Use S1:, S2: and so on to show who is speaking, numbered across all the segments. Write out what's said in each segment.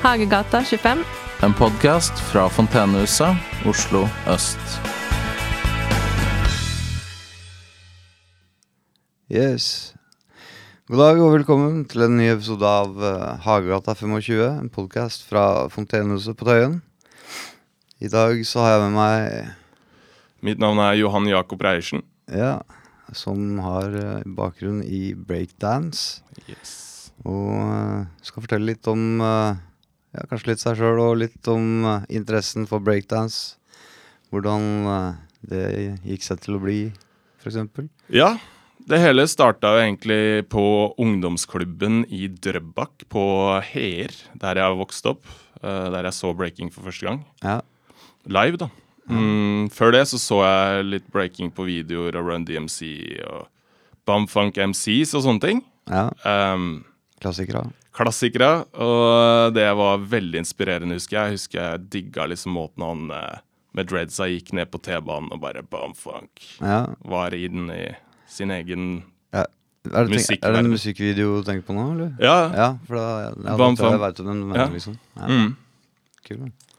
S1: Hagegata 25.
S2: En podkast fra Fontenehuset, Oslo øst.
S3: Yes. God dag og velkommen til en ny episode av eh, Hagegata 25, en podkast fra Fontenehuset på Tøyen. I dag så har jeg med meg
S4: Mitt navn er Johan Jakob Reiersen.
S3: Ja, som har eh, bakgrunn i breakdance.
S4: Yes.
S3: Og eh, skal fortelle litt om eh, ja, kanskje litt seg sjøl og litt om eh, interessen for breakdance. Hvordan eh, det gikk seg til å bli, f.eks.
S4: Ja, det hele starta jo egentlig på ungdomsklubben i Drøbak, på Heer, der jeg vokste opp. eh, Der jeg så breaking for første gang.
S3: Ja.
S4: Live, da. Mm, før det så så jeg litt breaking på videoer av Run DMC og Bamfunk MCs og sånne ting.
S3: ja.
S4: Um,
S3: Klassikere.
S4: klassikere, og det var veldig inspirerende, husker jeg. Jeg husker jeg digga liksom måten han eh, med dreadsa gikk ned på T-banen og bare Bamfunk.
S3: Ja.
S4: var inn i sin egen
S3: Ja. Er det, tenk, er det en
S4: Musikkverden.
S3: musikkvideo du tenker på nå, eller?
S4: Ja,
S3: Ja, for da ja, da
S4: Bam,
S3: tror jeg jeg
S4: bam.
S3: vet om den
S4: Ja.
S3: mener, liksom. Ja,
S4: Mm,
S3: kul, da.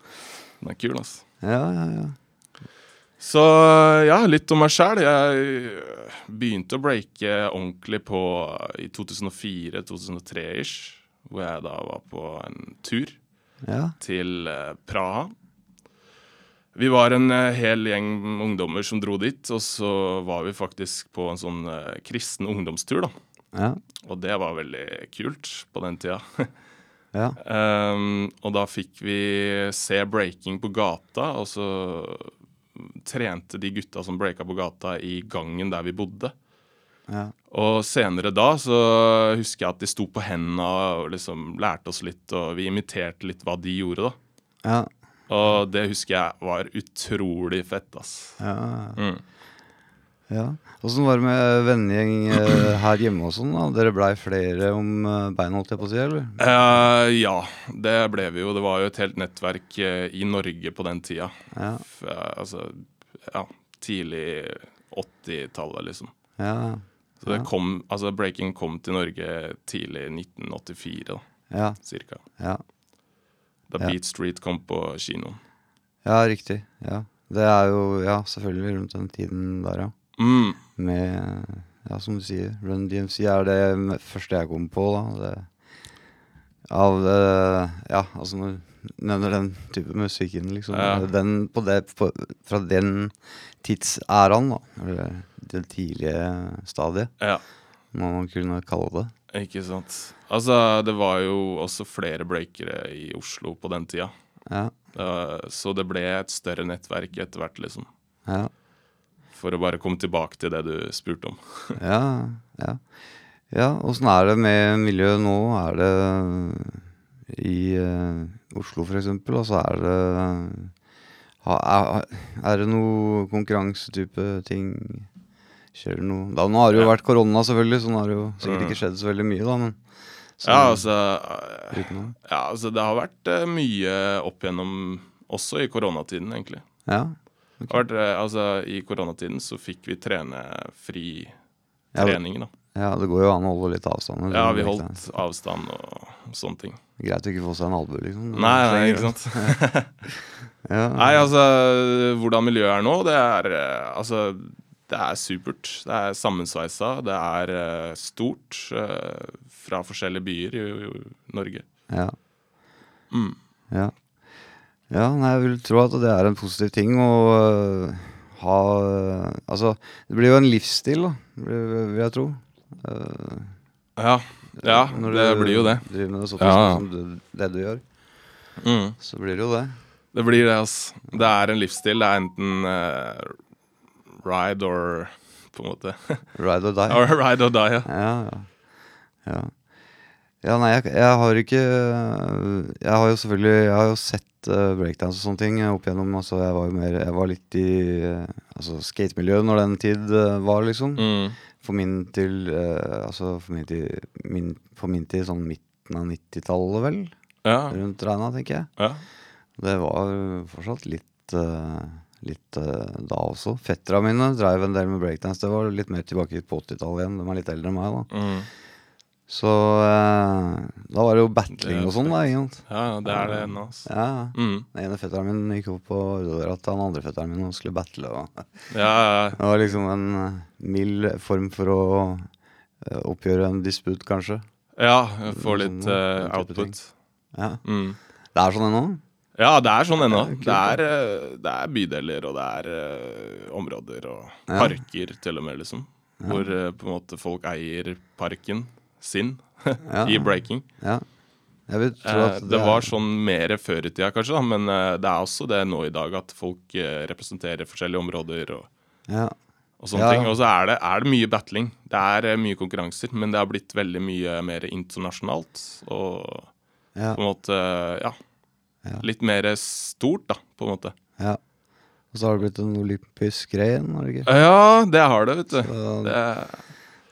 S4: den er kul, altså.
S3: ja, ja, ja.
S4: Så ja, litt om meg sjæl. Jeg øh, begynte å breake ordentlig på øh, i 2004-2003-ish, hvor jeg da var på en tur
S3: ja.
S4: til eh, Praha. Vi var en eh, hel gjeng ungdommer som dro dit, og så var vi faktisk på en sånn eh, kristen ungdomstur, da.
S3: Ja,
S4: Og det var veldig kult på den tida.
S3: ja,
S4: Ehm, og da fikk vi se breaking på gata, og så trente de gutta som breaka på gata, i gangen der vi bodde.
S3: ja.
S4: Og senere da så husker jeg at de sto på henda og liksom lærte oss litt, og vi imiterte litt hva de gjorde, da.
S3: ja,
S4: Og det husker jeg var utrolig fett, ass.
S3: ja.
S4: Mm.
S3: ja. Åssen var det med vennegjeng eh, her hjemme og sånn? da? Dere blei flere om eh, beina, holdt jeg på å si, eller?
S4: Eh, ja, det ble vi jo. Det var jo et helt nettverk eh, i Norge på den tida.
S3: Ja,
S4: F eh, altså, ja, tidlig 80-tallet, liksom.
S3: ja,
S4: Så det
S3: Ja.
S4: kom, altså breaking kom til Norge tidlig 1984, da,
S3: ja.
S4: cirka.
S3: Ja,
S4: Da
S3: Ja.
S4: Beat Street kom på kinoen.
S3: ja riktig. Ja. Det er jo ja, selvfølgelig rundt den tiden der, ja.
S4: Mm.
S3: Med ja, som du sier, Run DMC er det m- første jeg kom på. da det, Av eh, Ja, altså når du nevner den type musikken, liksom.
S4: Ja.
S3: Den på det, på, fra den tidsæraen, da. Eller det tidlige stadiet,
S4: Ja,
S3: må man kunne kalle det.
S4: ikke sant. Altså, det var jo også flere breakere i Oslo på den tida.
S3: Ja,
S4: Eh, så det ble et større nettverk etter hvert, liksom.
S3: ja,
S4: For å bare komme tilbake til det du spurte om.
S3: ja. ja. Ja, Åssen er det med miljøet nå? Er det i eh, Oslo, for eksempel? Altså er det ha, er, er det noe konkurransetype ting? Skjer det noe da, Nå har det jo vært korona, selvfølgelig, så nå har det jo sikkert ikke skjedd så veldig mye, da, men så,
S4: Mm. Ja, altså, eh,
S3: utenom.
S4: ja, altså det har vært eh, mye opp gjennom også i koronatiden, egentlig.
S3: Ja.
S4: Det har vært, eh, altså, I koronatiden så fikk vi trene fri
S3: Ja, det-
S4: trening, da.
S3: ja, det går jo an å holde litt avstand. liksom,
S4: Ja, vi
S3: ikke
S4: holdt
S3: sant?
S4: avstand og sånne ting.
S3: Greit å ikke få seg en albue, liksom.
S4: Nei, nei, ikke sant.
S3: Ja,
S4: Nei, altså, hvordan miljøet er nå, det er eh, Altså, det er supert. Det er sammensveisa. Det er eh, stort eh, fra forskjellige byer i i Norge.
S3: ja.
S4: Mm.
S3: Ja. ja, nei, jeg vil tro at det er en positiv ting å øh, ha øh, Altså, det blir jo en livsstil, da, vil vil jeg tro. Øh,
S4: Ja. Ja,
S3: når
S4: det
S3: du
S4: blir jo det.
S3: Driver med det såpass
S4: Ja.
S3: som du, det du gjør,
S4: Mm.
S3: så blir det jo det.
S4: Det blir det, altså. Det er en livsstil. Det er enten eh, ride or På en måte.
S3: Ride or die.
S4: or ride or die, ja.
S3: Ja, ja. ja. Ja, nei, jeg, jeg har ikke øh, Jeg har jo selvfølgelig Jeg har jo sett øh, breakdance og sånne ting øh, opp igjennom. Altså, jeg var jo mer Jeg var litt i øh, altså, skatemiljøet når den tid øh, var, liksom.
S4: Mm.
S3: For min til eh, Altså for min til, min, for min til sånn midten av 90-tallet, vel?
S4: Ja.
S3: Rundt regna, tenker jeg.
S4: ja.
S3: Det var fortsatt litt eh, Litt eh, da også. Fettera mine dreiv en del med breakdance. Det var litt mer tilbake på 80-tallet igjen. De er litt eldre enn meg, da.
S4: Mm.
S3: Så eh, da var det jo battling og sånn, da. ikke sant?
S4: Ja, det er det ennå. ass.
S3: Ja, ja.
S4: Mm.
S3: Den ene fetteren min gikk opp på Ordora til den andre fetteren min og skulle battle. Og
S4: Ja, ja,
S3: det var liksom en eh, mild form for å eh, oppgjøre en disputt, kanskje.
S4: ja. ja får litt
S3: Sånn,
S4: eh,
S3: den type
S4: output.
S3: Ja.
S4: Mm.
S3: Det er sånn ennå?
S4: Ja, det er sånn ennå.
S3: Ja, kult,
S4: Det, er, eh, det er bydeler, og det er eh, områder og
S3: Ja.
S4: parker, til og med, liksom. Hvor eh, på en måte folk eier parken sin
S3: Ja.
S4: i breaking.
S3: Ja. Jeg vil tro
S4: Eh,
S3: at
S4: det var
S3: er-
S4: sånn mer før i tida, kanskje, da, men eh, det er også det nå i dag at folk eh, representerer forskjellige områder og,
S3: ja.
S4: og sånne
S3: Ja, ja.
S4: ting. Og så er det, er det mye battling. Det er eh, mye konkurranser, men det har blitt veldig mye mer internasjonalt. Og
S3: Ja.
S4: på en måte, ja.
S3: Ja.
S4: Litt mer stort, da, på en måte.
S3: ja. Og så har det blitt en olympisk grein, har det ikke?
S4: Ja, det har det, vet du.
S3: Så
S4: Det,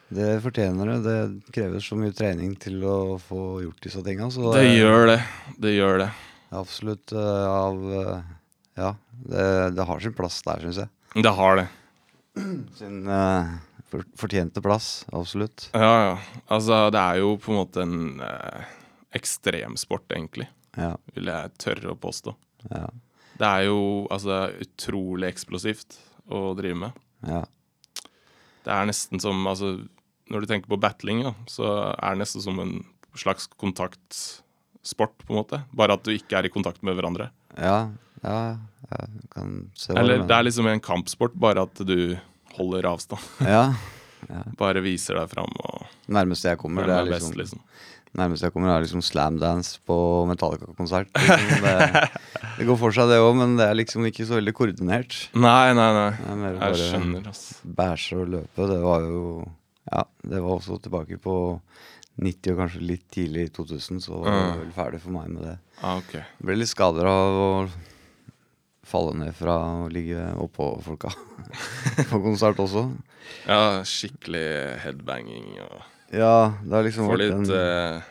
S3: Det fortjener det. Det krever så mye trening til å få gjort disse tinga. Så
S4: det gjør det. Det gjør det.
S3: er absolutt eh, av eh, Ja, det, det har sin plass der, syns jeg.
S4: Det har det.
S3: Sin eh, for, fortjente plass, absolutt.
S4: Ja, ja. Altså, det er jo på en måte en eh, ekstremsport, egentlig,
S3: Ja,
S4: vil jeg tørre å påstå.
S3: ja,
S4: Det er jo altså utrolig eksplosivt å drive med.
S3: ja.
S4: Det er nesten som altså Når du tenker på battling, da, så er det nesten som en slags kontaktsport, på en måte. Bare at du ikke er i kontakt med hverandre.
S3: Ja, ja, jeg kan se hva
S4: Eller
S3: du
S4: det er liksom en kampsport, bare at du holder avstand.
S3: Ja,
S4: Bare viser deg fram og
S3: Nærmeste jeg kommer,
S4: hvem
S3: det
S4: er
S3: er
S4: best,
S3: liksom,
S4: liksom.
S3: nærmeste jeg kommer er liksom slamdance på Metallica-konsert. Liksom. Det, det går for seg, det òg, men det er liksom ikke så veldig koordinert.
S4: Nei, nei,
S3: Det
S4: nei.
S3: er mer
S4: Jeg
S3: bare
S4: skjønner, altså.
S3: bæsje og løpe. Det var jo Ja, det var også tilbake på 90 og kanskje litt tidlig i 2000, så var det
S4: Mm.
S3: vel ferdig for meg med det.
S4: Ah, ok.
S3: Ble litt skader av å falle ned fra å ligge oppå folka på konsert også.
S4: Ja, skikkelig headbanging og
S3: Ja, det har liksom vært
S4: Får litt
S3: en
S4: eh,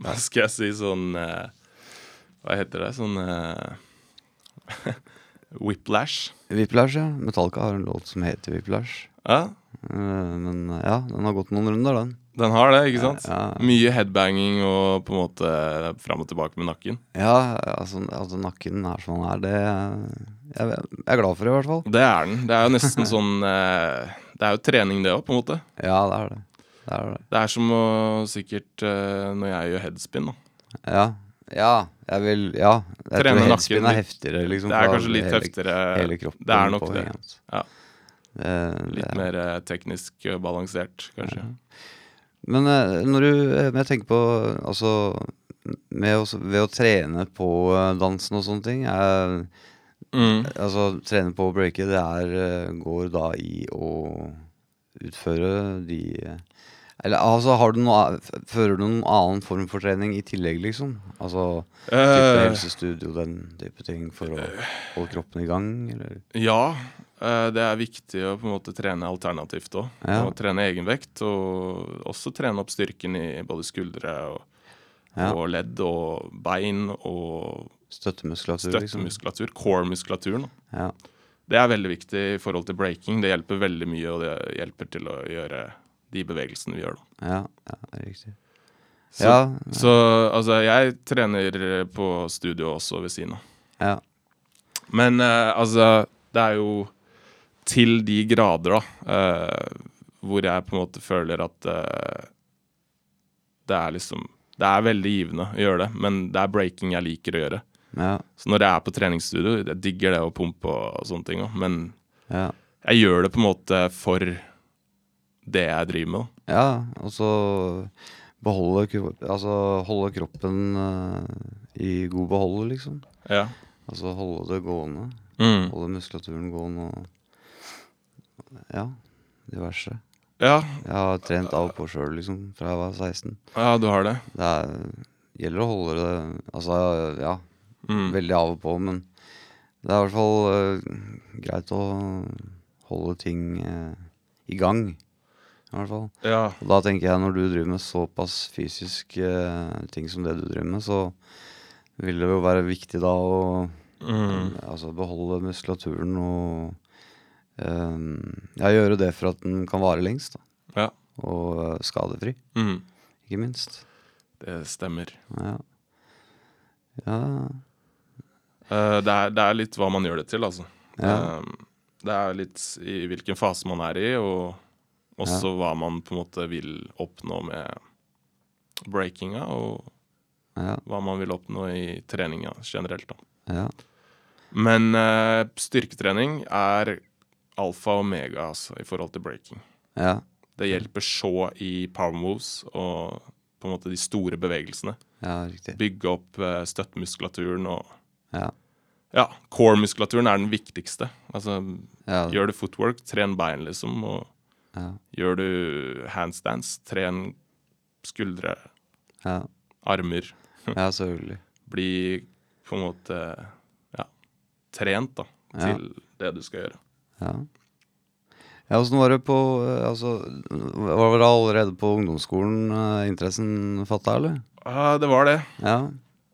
S4: Hva skal jeg si, sånn eh, Hva heter det? Sånn eh, Whiplash.
S3: Whiplash, ja. Metallica har en låt som heter Whiplash.
S4: Ja,
S3: Eh, Men ja, den har gått noen runder, den.
S4: den har det, ikke sant?
S3: Ja, ja.
S4: Mye headbanging og på en måte fram og tilbake med nakken.
S3: Ja, altså, altså nakken er som den er. Det jeg, jeg er glad for det, i hvert fall.
S4: Det er den. Det er jo nesten sånn eh, Det er jo trening, det òg, på en måte.
S3: Ja, det er det. Det er det.
S4: Det er som å sikkert eh, når jeg gjør headspin, da.
S3: Ja. Ja, jeg vil Ja. Jeg
S4: Trene
S3: tror
S4: nakken
S3: headspin er
S4: litt.
S3: heftigere, liksom.
S4: Det er
S3: for
S4: kanskje litt
S3: hele-
S4: heftigere.
S3: Hele kroppen.
S4: Det er nok
S3: på
S4: det.
S3: en gang.
S4: Ja.
S3: Det-
S4: Litt
S3: det-
S4: mer eh, teknisk eh, balansert, kanskje.
S3: Men eh, når du eh, Men jeg tenker på Altså med å, ved å trene på eh, dansen og sånne ting eh,
S4: Mm.
S3: Altså trene på å breake, det er eh, går da i å utføre de eh, Eller altså, har du noe a- f- Fører du noen annen form for trening i tillegg, liksom? Altså Type
S4: Eh,
S3: helsestudio, den type ting for å holde kroppen i gang, eller?
S4: ja, eh, det er viktig å på en måte trene alternativt òg.
S3: Ja.
S4: Og trene egenvekt, og også trene opp styrken i både skuldre og,
S3: Ja.
S4: og ledd og bein og
S3: Støttemuskulatur, liksom?
S4: støttemuskulatur. Core-muskulaturen. da.
S3: Ja.
S4: Det er veldig viktig i forhold til breaking. Det hjelper veldig mye, og det hjelper til å gjøre de bevegelsene vi gjør. da.
S3: Ja, ja, det er riktig.
S4: Så,
S3: ja,
S4: så altså, jeg trener på studio også ved siden av.
S3: ja,
S4: Men eh, altså, det er jo til de grader, da, eh, hvor jeg på en måte føler at eh, det er liksom Det er veldig givende å gjøre det, men det er breaking jeg liker å gjøre.
S3: ja,
S4: Så når jeg er på treningsstudio, jeg digger det å pumpe og sånne ting òg, men
S3: ja.
S4: jeg gjør det på en måte for det jeg driver med. da.
S3: ja og så beholde, kro- altså, holde kroppen eh, i god beholde, liksom.
S4: Ja.
S3: Altså holde det gående.
S4: Mm.
S3: Holde muskulaturen gående og Ja, diverse.
S4: Ja,
S3: Jeg har trent av og på sjøl, liksom, fra jeg var 16.
S4: ja, du har det.
S3: Det er, gjelder å holde det Altså, ja,
S4: Mm.
S3: veldig av og på, men det er i hvert fall eh, greit å holde ting eh, i gang. I hvert fall.
S4: Ja.
S3: Og da tenker jeg, når du driver med såpass fysisk eh, ting som det du driver med, så vil det jo være viktig da å
S4: Mm.
S3: altså, beholde muskulaturen og ehm, eh, ja, gjøre det for at den kan vare lengst, da.
S4: Ja.
S3: Og eh, skadefri,
S4: Mm.
S3: ikke minst.
S4: Det stemmer.
S3: Ja. Ja.
S4: Eh, det, er, det er litt hva man gjør det til, altså.
S3: ja.
S4: Eh, det er litt i hvilken fase man er i, og også hva man på en måte vil oppnå med breakinga, og
S3: ja.
S4: hva man vil oppnå i treninga generelt. da.
S3: ja.
S4: Men eh, styrketrening er alfa og omega altså, i forhold til breaking.
S3: ja.
S4: Det hjelper så i power moves og på en måte de store bevegelsene.
S3: ja riktig.
S4: Bygge opp eh, støttmuskulaturen og
S3: Ja.
S4: Ja, core-muskulaturen er den viktigste. Altså,
S3: Ja.
S4: gjør du footwork, tren bein, liksom, og
S3: Ja.
S4: Gjør du handstands, tren skuldre,
S3: Ja.
S4: armer.
S3: ja, selvfølgelig.
S4: Bli på en måte ja, trent da,
S3: Ja.
S4: til det du skal gjøre.
S3: Ja. Ja, Åssen var det på eh, altså, Var det allerede på ungdomsskolen eh, interessen fatta, eller?
S4: Ah, det var det.
S3: Ja.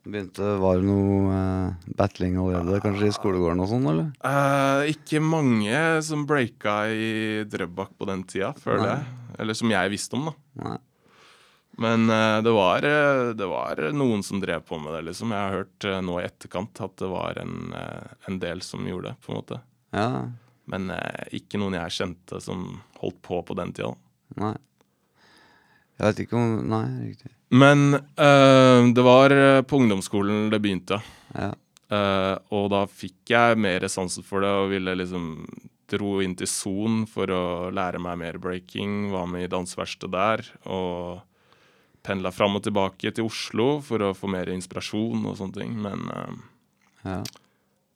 S3: Begynte, Var det noe eh, battling allerede, kanskje i skolegården og sånn, eller?
S4: Eh, ikke mange som breaka i Drøbak på den tida, føler
S3: Nei.
S4: jeg. Eller som jeg visste om, da.
S3: Nei.
S4: Men eh, det, var, eh, det var noen som drev på med det, liksom. Jeg har hørt eh, nå i etterkant at det var en, eh, en del som gjorde det, på en måte.
S3: Ja.
S4: Men eh, ikke noen jeg kjente som holdt på på den tida. da.
S3: Nei. Jeg vet ikke om Nei, riktig.
S4: Men eh, det var eh, på ungdomsskolen det begynte.
S3: Ja.
S4: Eh, og da fikk jeg mer sansen for det og ville liksom dro inn til Son for å lære meg mer breaking. Var med i danseverkstedet der og pendla fram og tilbake til Oslo for å få mer inspirasjon og sånne ting. Men eh,
S3: Ja.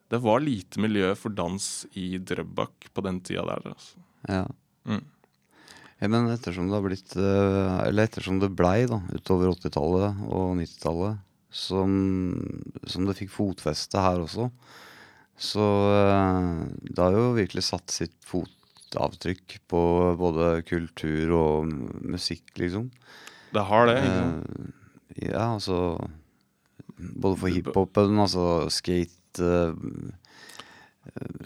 S4: det var lite miljø for dans i Drøbak på den tida der. Altså.
S3: Ja.
S4: Mm.
S3: Ja, men ettersom det har blitt eh, Eller ettersom det blei da, utover 80-tallet og 90-tallet, som, som det fikk fotfeste her også, så eh, det har jo virkelig satt sitt fotavtrykk på både kultur og musikk, liksom.
S4: Det har det. ikke sant?
S3: Eh, ja, altså Både for hiphopen, altså skate eh,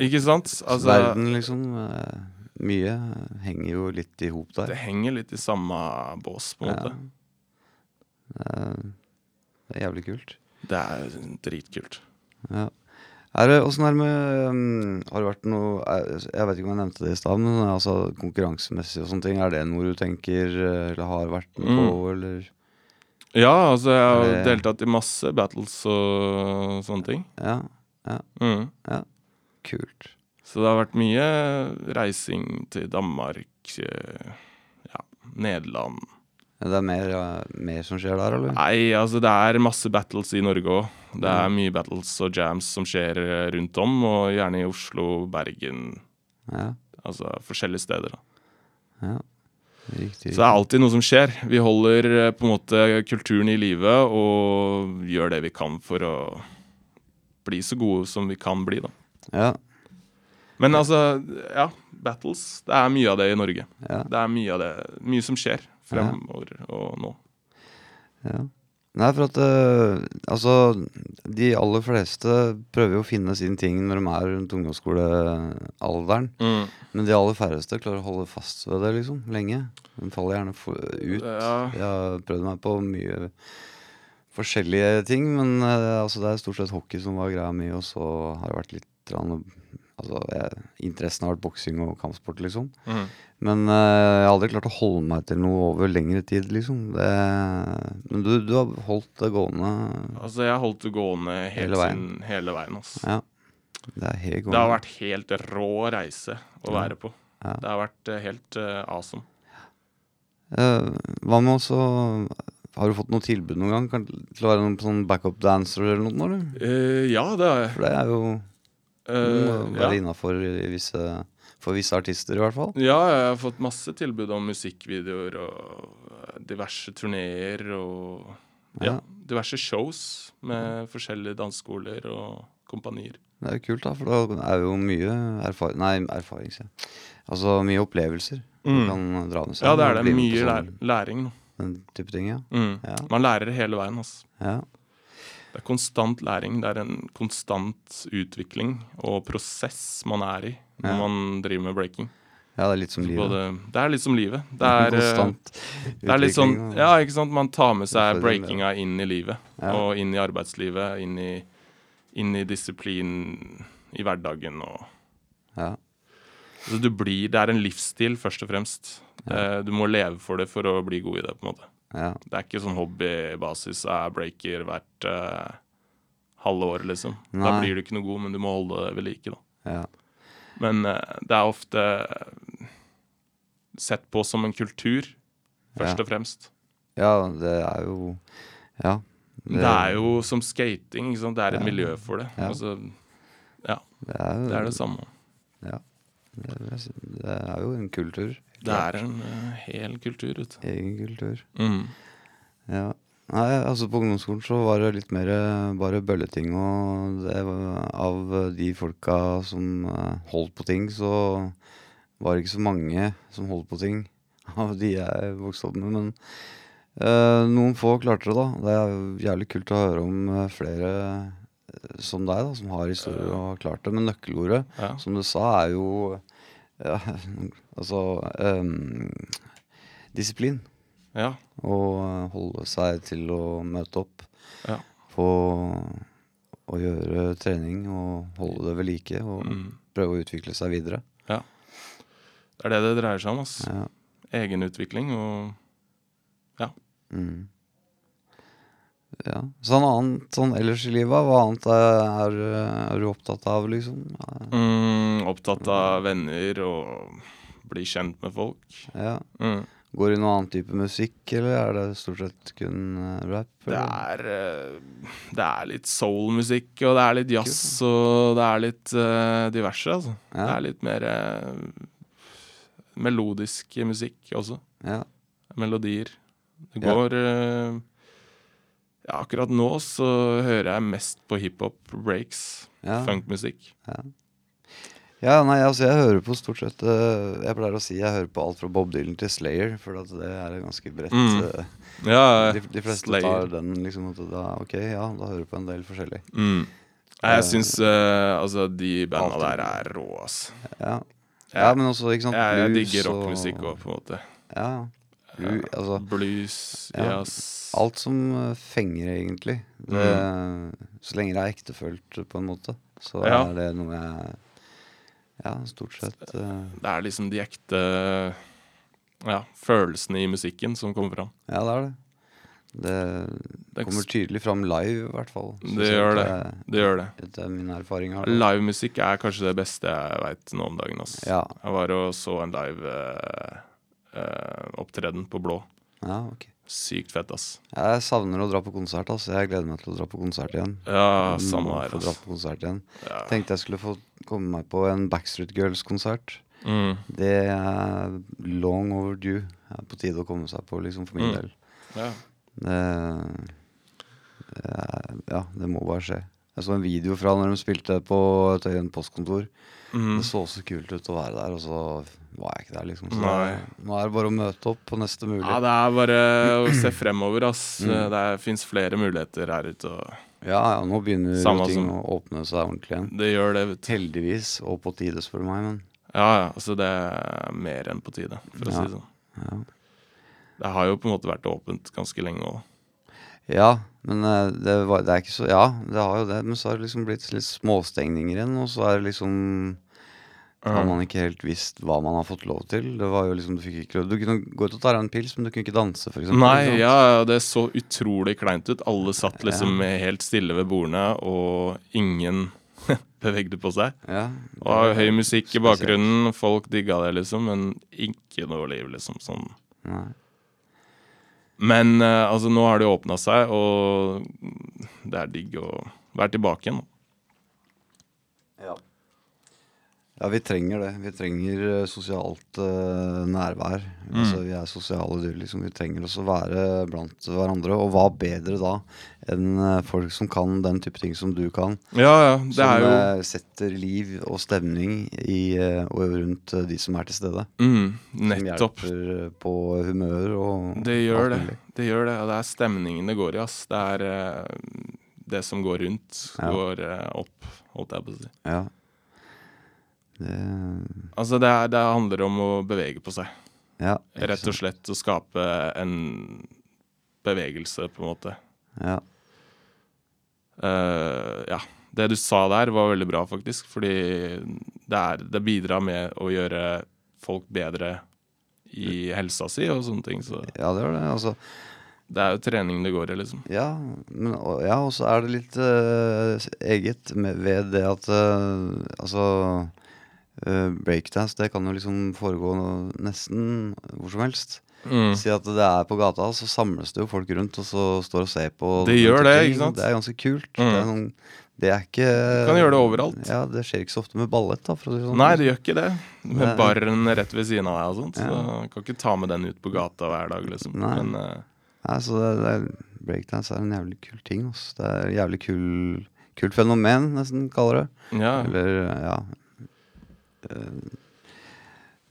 S4: Ikke sant? Altså,
S3: verden, liksom. eh, mye eh, henger jo litt i hop der.
S4: det henger litt i samme bås, på en
S3: Ja.
S4: måte.
S3: Eh, Det er jævlig kult.
S4: Det er dritkult.
S3: Ja. Er det, åssen er det med um, Har det vært noe er- Jeg vet ikke om jeg nevnte det i stad, men altså, konkurransemessig og sånne ting, er det noe du tenker eh, eller har vært med på,
S4: Mm.
S3: eller
S4: Ja, altså jeg har
S3: Er det-
S4: deltatt i masse battles og sånne ting.
S3: Ja,
S4: Mm.
S3: kult.
S4: Så det har vært mye reising til Danmark, eh, ja, Nederland
S3: Ja, Det er mer, eh, mer som skjer der, eller?
S4: Nei, altså det er masse battles i Norge òg. Det er mye battles og jams som skjer eh, rundt om, og gjerne i Oslo, Bergen,
S3: Ja,
S4: altså forskjellige steder. da.
S3: ja. Riktig.
S4: Så det er alltid noe som skjer. Vi holder eh, på en måte kulturen i live og gjør det vi kan for å bli så gode som vi kan bli, da.
S3: Ja,
S4: Men altså, ja. Battles. Det er mye av det i Norge.
S3: ja,
S4: Det er mye av det, mye som skjer fremover og nå.
S3: ja. Nei, for at eh, altså De aller fleste prøver jo å finne sin ting når de er rundt ungdomsskolealderen. Men de aller færreste klarer å holde fast ved det liksom, lenge. De faller gjerne for, ut.
S4: Ja.
S3: Jeg har prøvd meg på mye forskjellige ting, men eh, altså, det er stort sett hockey som var greia mi, og så har det vært litt grann- altså, jeg, Interessen har vært boksing og kampsport, liksom.
S4: Mm.
S3: Men eh, jeg har aldri klart å holde meg til noe over lengre tid, liksom. Det, men du, du har holdt det gående.
S4: Altså, jeg holdt det gående
S3: Hele
S4: hele veien.
S3: veien.
S4: hele veien ass.
S3: Ja. Det er helt
S4: Det har
S3: gående.
S4: vært helt rå reise å
S3: Ja.
S4: være på.
S3: Ja.
S4: Det har vært eh, helt eh, awesome.
S3: Eh, hva med også Har du fått noe tilbud noen gang kan, til å være noen sånn backup dancer eller noe? Eller?
S4: Eh, ja, det har jeg.
S3: For det er jo
S4: Eh,
S3: uh,
S4: ja.
S3: være innafor visse, for visse artister, i hvert fall.
S4: ja, jeg har fått masse tilbud om musikkvideoer og eh, diverse turneer og ja,
S3: Ja.
S4: diverse shows med forskjellige danseskoler og kompanier.
S3: Det er jo kult, da, for da er jo mye erfaring Nei, erfaring, sier jeg. Altså mye opplevelser
S4: Mm.
S3: man kan dra med seg.
S4: Ja, det er
S3: og
S4: det.
S3: bli med på
S4: Mye lær
S3: sånn-
S4: læring. nå.
S3: Den type ting, ja.
S4: Mm.
S3: Ja.
S4: Man lærer hele veien. Altså.
S3: ja.
S4: Det er konstant læring. Det er en konstant utvikling og prosess man er i når
S3: Ja.
S4: man driver med breaking.
S3: Ja, det er litt som livet.
S4: Både, det er litt som livet. Det er, eh,
S3: Konstant
S4: det er litt sånn
S3: utvikling, og-
S4: Ja, ikke sant. Man tar med seg
S3: Utfordring, ja.
S4: breakinga inn i livet.
S3: Ja.
S4: Og inn i arbeidslivet, inn i, inn i disiplin i hverdagen og
S3: ja.
S4: Altså, du blir, det er en livsstil, først og fremst. Eh, Du må leve for det for å bli god i det. på en måte.
S3: Ja,
S4: Det er ikke sånn hobbybasis. Jeg er breaker hvert eh, halve år, liksom. Da
S3: Nei.
S4: blir du ikke noe god, men du må holde det ved like. da.
S3: ja,
S4: Men eh, det er ofte eh, sett på som en kultur, først
S3: Ja.
S4: og fremst.
S3: ja, det er jo Ja.
S4: Men det er jo som skating. Ikke sant? Det er et
S3: Ja.
S4: miljø for det.
S3: Ja.
S4: Altså,
S3: det er jo,
S4: det er det samme.
S3: det vil jeg si. Det er jo en kultur.
S4: Det er en eh, hel kultur, vet du.
S3: Egen kultur.
S4: Mm.
S3: Ja. Nei, altså På ungdomsskolen så var det litt mer eh, bare bølleting. Og det var, av eh, de folka som eh, holdt på ting, så var det ikke så mange som holdt på ting av de jeg vokste opp med. Men eh, noen få klarte det, da. Det er jo jævlig kult å høre om eh, flere eh, som deg, da, som har historier og har klart det. Men nøkkelordet
S4: Ja.
S3: som du sa, er jo ja, Altså ehm, Disiplin.
S4: ja.
S3: Og eh, holde seg til å møte opp
S4: Ja.
S3: på å gjøre trening og holde det ved like og
S4: Mm.
S3: prøve å utvikle seg videre.
S4: Det er det det dreier seg om. ass.
S3: Ja.
S4: Egenutvikling og
S3: Mm. ja. Så noe annet sånn ellers i livet, hva annet er, er, er du opptatt av, liksom? Eh,
S4: mm, opptatt av venner og bli kjent med folk.
S3: Ja.
S4: Mm.
S3: Går det i noen annen type musikk, eller er det stort sett kun eh, rap?
S4: Det
S3: eller?
S4: er, eh, det er litt soulmusikk, og det er litt jazz, og det er litt eh, diverse, altså. Det
S3: Ja.
S4: er litt mer eh, melodisk musikk også.
S3: Ja.
S4: Melodier. Det
S3: Ja.
S4: går eh, ja, Akkurat nå så hører jeg mest på hiphop, breaks,
S3: Ja.
S4: funkmusikk.
S3: Ja, nei, altså jeg hører på stort sett eh, Jeg pleier å si jeg hører på alt fra Bob Dylan til Slayer, for at det er ganske bredt.
S4: Mm.
S3: eh,
S4: Ja,
S3: de, de fleste
S4: Slayer.
S3: tar den liksom at da, Ok, ja, da hører du på en del forskjellig.
S4: Mm.
S3: Eh,
S4: Jeg syns eh, altså de banda
S3: alltid.
S4: der er rå, ass.
S3: Ja, ja
S4: Jeg,
S3: men også, ikke sant,
S4: jeg, jeg
S3: blues
S4: digger
S3: og-
S4: rockmusikk òg, på en måte.
S3: Ja, blu, altså
S4: Blues,
S3: Ja,
S4: jazz
S3: Alt som eh, fenger, egentlig. Det, Så lenge det er ektefølt, på en måte, så
S4: Mm. Ja.
S3: er det noe jeg Ja, stort sett eh,
S4: Det er liksom de ekte ja, følelsene i musikken som kommer fram.
S3: Ja, det er det. Det
S4: Det,
S3: kommer tydelig fram live, i hvert fall.
S4: Det
S3: synes jeg
S4: gjør
S3: at
S4: det. det gjør det.
S3: jeg- Etter min erfaring. har det.
S4: Livemusikk er kanskje det beste jeg veit nå om dagen. Ass.
S3: Ja,
S4: Jeg var og så en live eh, eh, opptreden på Blå.
S3: ja, ok.
S4: Sykt fett, ass.
S3: Jeg savner å dra på konsert, altså. Jeg gleder meg til å dra på konsert igjen.
S4: Ja,
S3: Må
S4: samme her,
S3: få dra
S4: ass.
S3: på konsert igjen.
S4: Ja.
S3: Tenkte jeg skulle få komme meg på en Backstreet Girls-konsert.
S4: Mm.
S3: Det er long overdue. Det er på tide å komme seg på, liksom, for min
S4: Mm.
S3: del.
S4: Ja.
S3: Det, det er, ja, det må bare skje. Jeg så en video fra når de spilte på Tøyen postkontor.
S4: Mm.
S3: Det så så kult ut å være der, og så var jeg ikke der, liksom. Så
S4: Nei.
S3: nå er det bare å møte opp på neste mulig. Mm.
S4: Ja, det er bare å se fremover, ass. Det fins flere muligheter her ute, og
S3: Ja, ja, nå begynner jo
S4: Samme
S3: ting
S4: som-
S3: å åpne seg ordentlig igjen.
S4: det gjør det, vet du.
S3: Heldigvis, og på tide, spør du meg, men
S4: Ja, ja, altså det er mer enn på tide, for å
S3: Ja.
S4: si det sånn.
S3: ja.
S4: Det har jo på en måte vært åpent ganske lenge òg.
S3: Ja, men eh, det, var, det er ikke så Ja, det har jo det, men så har det liksom blitt litt småstengninger igjen, og så er det liksom Har
S4: Eh,
S3: man ikke helt visst hva man har fått lov til. Det var jo liksom, Du fikk ikke lov Du kunne gå ut og ta deg en pils, men du kunne ikke danse, for eksempel.
S4: Nei,
S3: ikke sant?
S4: ja, ja, det så utrolig kleint ut. Alle satt liksom helt stille ved bordene, og ingen bevegde på seg.
S3: ja.
S4: Og høy musikk i bakgrunnen, folk digga det, liksom, men ikke noe liv, liksom. sånn
S3: Nei.
S4: Men eh, altså, nå har det jo åpna seg, og det er digg å være tilbake igjen.
S3: Ja. ja, vi trenger det. Vi trenger eh, sosialt eh, nærvær.
S4: Mm.
S3: Altså, vi er sosiale dyr. Liksom. Vi trenger også å være blant hverandre. Og hva bedre da enn eh, folk som kan den type ting som du kan?
S4: Ja, ja, det
S3: som
S4: er jo
S3: eh, setter liv og stemning i eh, og rundt eh, de som er til stede.
S4: mm, Nettopp.
S3: Som hjelper eh, på humør og
S4: Det gjør
S3: alt
S4: det.
S3: mulig.
S4: Det gjør det, og det er stemningen det går i, ass. Det er eh, det som går rundt,
S3: Ja.
S4: går eh, opp, holdt jeg på å si.
S3: Ja. Det,
S4: Altså, det, er, det handler om å bevege på seg.
S3: ja, ikke
S4: Rett og
S3: sant.
S4: slett å skape en bevegelse, på en måte.
S3: Ja.
S4: Eh, ja. Det du sa der, var veldig bra, faktisk. Fordi det, er, det bidrar med å gjøre folk bedre i helsa si og sånne ting. Så
S3: ja, det gjør det. Altså,
S4: det er jo trening det går i, liksom.
S3: ja, men, og, ja, og så er det litt eh, eget med, ved det at eh, Altså eh, Breakdance det kan jo liksom foregå nesten hvor som helst.
S4: Mm.
S3: Si at det er på gata, så samles det jo folk rundt og så står og ser på.
S4: Det
S3: den
S4: gjør
S3: type
S4: det,
S3: ting.
S4: ikke sant?
S3: Det er ganske kult.
S4: Mm.
S3: Det, er sånn, det er ikke
S4: Du kan gjøre det overalt.
S3: Ja, Det skjer ikke så ofte med ballett. da for å si det sånn.
S4: Nei, det gjør ikke det. Med
S3: Nei.
S4: baren rett ved siden av deg og sånt.
S3: Ja.
S4: Så du kan ikke ta med den ut på gata hver dag, liksom.
S3: Nei.
S4: Men eh,
S3: Nei, så det, det er, Breakdance er en jævlig kul ting. Ass. Det er et jævlig kul, kult fenomen, nesten, kaller det.
S4: ja.
S3: Eller ja Eh,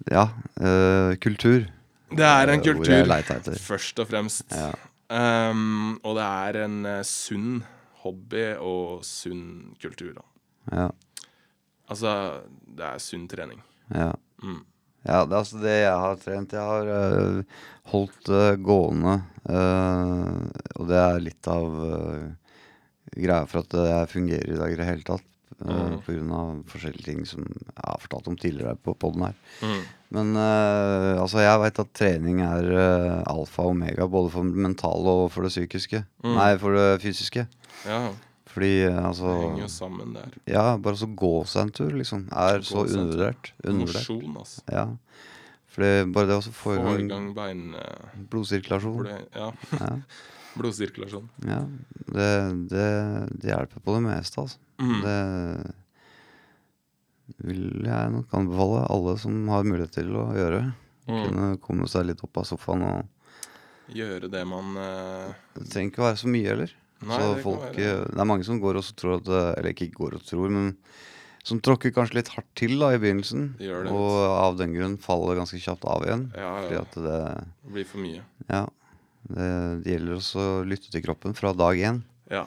S3: Ja, eh, kultur.
S4: Det er
S3: eh, Hvor
S4: en
S3: jeg
S4: kultur,
S3: leita etter.
S4: først og fremst.
S3: Ja,
S4: Ehm, og det er en eh, sunn hobby og sunn kultur, da.
S3: ja,
S4: Altså, det er sunn trening.
S3: ja.
S4: Mm.
S3: Ja, det er altså det jeg har trent. Jeg har øh, holdt det gående. øh, og det er litt av øh, greia for at jeg fungerer i dag i det hele tatt. Uh,
S4: Mhm.
S3: På grunn av forskjellige ting som jeg har fortalt om tidligere på podden her.
S4: Mm.
S3: Men øh, altså, jeg veit at trening er øh, alfa og omega både for det mentale og for det psykiske.
S4: Mhm.
S3: Nei, for det fysiske.
S4: Ja,
S3: Fordi øh, altså
S4: det henger jo sammen der.
S3: Ja, bare så gå seg en tur, liksom, er
S4: Gå
S3: så
S4: seg en tur.
S3: undervurdert. Undervurdert.
S4: Mosjon, altså.
S3: Ja. Fordi bare det å få i
S4: Få i
S3: gang
S4: gang bein... eh, hvor
S3: blodsirkulasjon
S4: det- Ja,
S3: ja,
S4: blodsirkulasjon.
S3: ja. Det, det, det hjelper på det meste, altså.
S4: Mm.
S3: Det vil jeg nok anbefale alle som har mulighet til å gjøre.
S4: Mm.
S3: Kunne komme seg litt opp av sofaen. Og
S4: Gjøre det man eh,
S3: det trenger ikke å være så mye heller.
S4: Nei,
S3: så
S4: det kan
S3: folk,
S4: være
S3: eh, det er mange som går og så tror at eh, Eller ikke går og tror, men som tråkker kanskje litt hardt til da i begynnelsen.
S4: Det gjør det,
S3: og av den grunn faller ganske kjapt av igjen.
S4: Ja,
S3: Fordi
S4: ja.
S3: at det,
S4: Det blir for mye.
S3: ja, det, det gjelder også å lytte til kroppen fra dag én.
S4: Ja.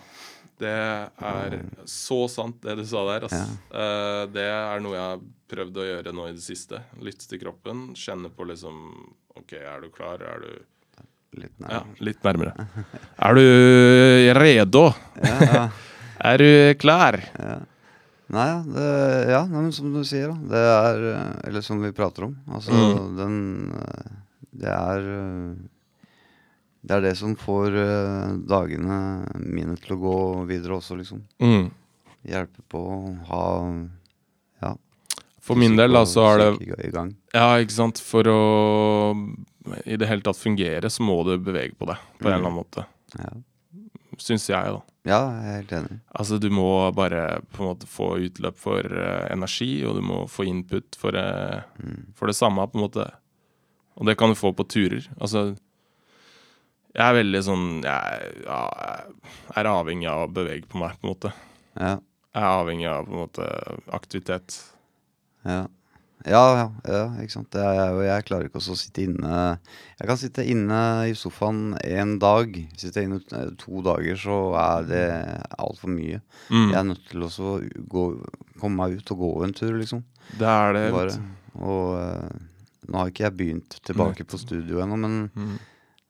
S4: Det er så sant, det du sa der. Ass. Eh, det er noe jeg har prøvd å gjøre nå i det siste. Lytte til kroppen. Kjenne på liksom OK, er du klar? Er du
S3: Litt
S4: Ja,
S3: nærmere.
S4: litt nærmere. Er du redo?
S3: Ja, ja.
S4: Er du klar?
S3: Ja. Nei, ja, det, ja nei, men som du sier, da. Det er eh, Eller som vi prater om. Altså,
S4: Mm.
S3: den eh, Det er eh, Det er det som får eh, dagene mine til å gå videre også, liksom.
S4: Mm.
S3: Hjelpe på å ha Ja.
S4: For min del, da, så har det
S3: psyke i gang.
S4: Ja, ikke sant. For å i det hele tatt fungere, så må du bevege på deg på en eller annen måte.
S3: Ja.
S4: Syns jeg, da.
S3: ja, jeg er helt enig.
S4: Altså, du må bare på en måte få utløp for eh, energi, og du må få input for, eh,
S3: Mm.
S4: for det samme, på en måte. Og det kan du få på turer. Altså, jeg er veldig sånn Jeg, ja, jeg er avhengig av å bevege på meg, på en måte.
S3: Ja.
S4: Jeg er avhengig av på en måte aktivitet.
S3: Ja. Ja, ja, ja, ikke sant. Det er jeg, jo. jeg klarer ikke også å sitte inne Jeg kan sitte inne i sofaen en dag. Sitter jeg inne eh, to dager, så er det altfor mye.
S4: Mm.
S3: Jeg er nødt til også å gå, komme meg ut og gå en tur, liksom.
S4: Det er det. vet
S3: Bare.
S4: du.
S3: Og eh, nå har ikke jeg begynt tilbake på studio ennå, men
S4: Mm.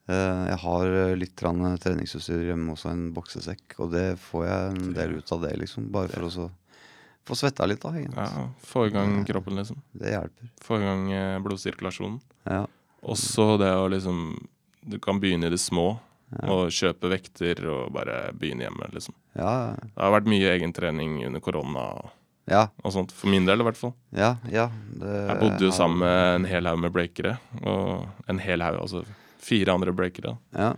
S3: eh, jeg har eh, litt grann treningsutstyr hjemme også, en boksesekk, og det får jeg en del ut av det, liksom. Bare for å så få svetta litt, da.
S4: Ja,
S3: Egentlig.
S4: få i gang kroppen, liksom.
S3: Det hjelper.
S4: Få i gang eh, blodsirkulasjonen.
S3: Ja.
S4: Også det å liksom Du kan begynne i det små. Og kjøpe vekter og bare begynne hjemme, liksom.
S3: Ja, ja.
S4: Det har vært mye egentrening under korona og,
S3: Ja,
S4: og sånt. For min del, i hvert fall.
S3: ja, ja. Det,
S4: Jeg bodde jo
S3: har-
S4: sammen med en hel haug med breakere. Og en hel haug, altså fire andre breakere.
S3: Ja,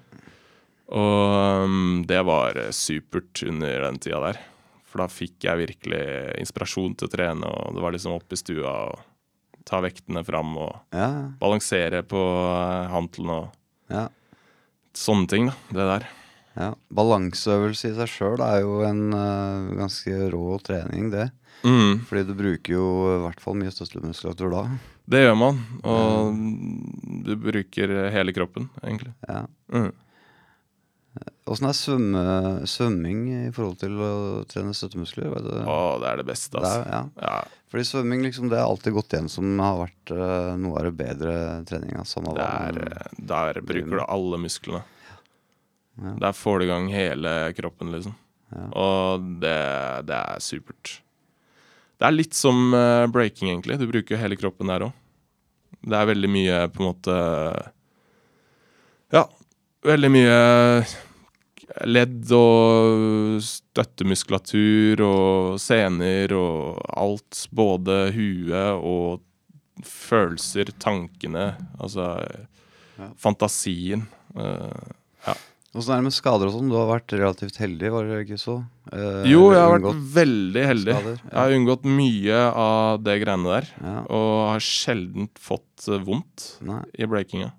S4: Og um, det var eh, supert under den tida der. For da fikk jeg virkelig inspirasjon til å trene, og det var liksom opp i stua og ta vektene fram og
S3: ja,
S4: balansere på eh, hantelen og
S3: ja,
S4: sånne ting, da. Det der.
S3: ja. Balanseøvelse i seg sjøl er jo en eh, ganske rå trening, det.
S4: Mm.
S3: Fordi du bruker jo eh, i hvert fall mye støttemuskulatur da.
S4: Det gjør man. Og Mm. du bruker hele kroppen, egentlig.
S3: Ja.
S4: Mm.
S3: Åssen er svømme, svømming i forhold til å trene støttemuskler? Vet du?
S4: Å, det er det
S3: Det
S4: beste, altså.
S3: er- ja.
S4: Ja,
S3: Fordi svømming liksom, det har alltid gått igjen som har vært eh, noe av det bedre treninga. Samme
S4: det
S3: hva
S4: er,
S3: man-
S4: eh, der bruker du alle musklene.
S3: Ja.
S4: Der får du i gang hele kroppen, liksom. Og det, det er supert. Det er litt som eh, breaking, egentlig. Du bruker jo hele kroppen der òg. Det er veldig mye på en måte Ja, veldig mye eh, ledd og støttemuskulatur og sener og alt. Både huet og følelser, tankene, altså
S3: Ja.
S4: fantasien. eh,
S3: Åssen er det med skader og sånn? Du har vært relativt heldig, var det ikke så? Eh,
S4: Jo,
S3: eller
S4: jeg har vært
S3: unngått-
S4: veldig heldig.
S3: skader, ja.
S4: Jeg har unngått mye av det greiene der.
S3: ja.
S4: Og har sjelden fått eh, vondt
S3: Nei,
S4: i breakinga.